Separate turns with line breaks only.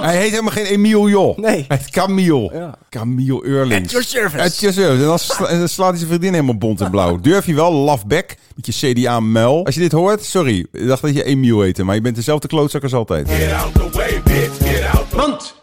Hij heet helemaal geen Emiel Jol.
Nee.
Hij heet Camille.
Ja.
Camille Eurlings.
At your service.
At your service. En dan sla- en dan slaat hij zijn vriendin helemaal bont en blauw. Durf je wel, lafbek, met je CDA-mel. Als je dit hoort, sorry. Ik dacht dat je Emiel heette, maar je bent dezelfde klootzak als altijd.
Get out the way, bitch, get out the
Want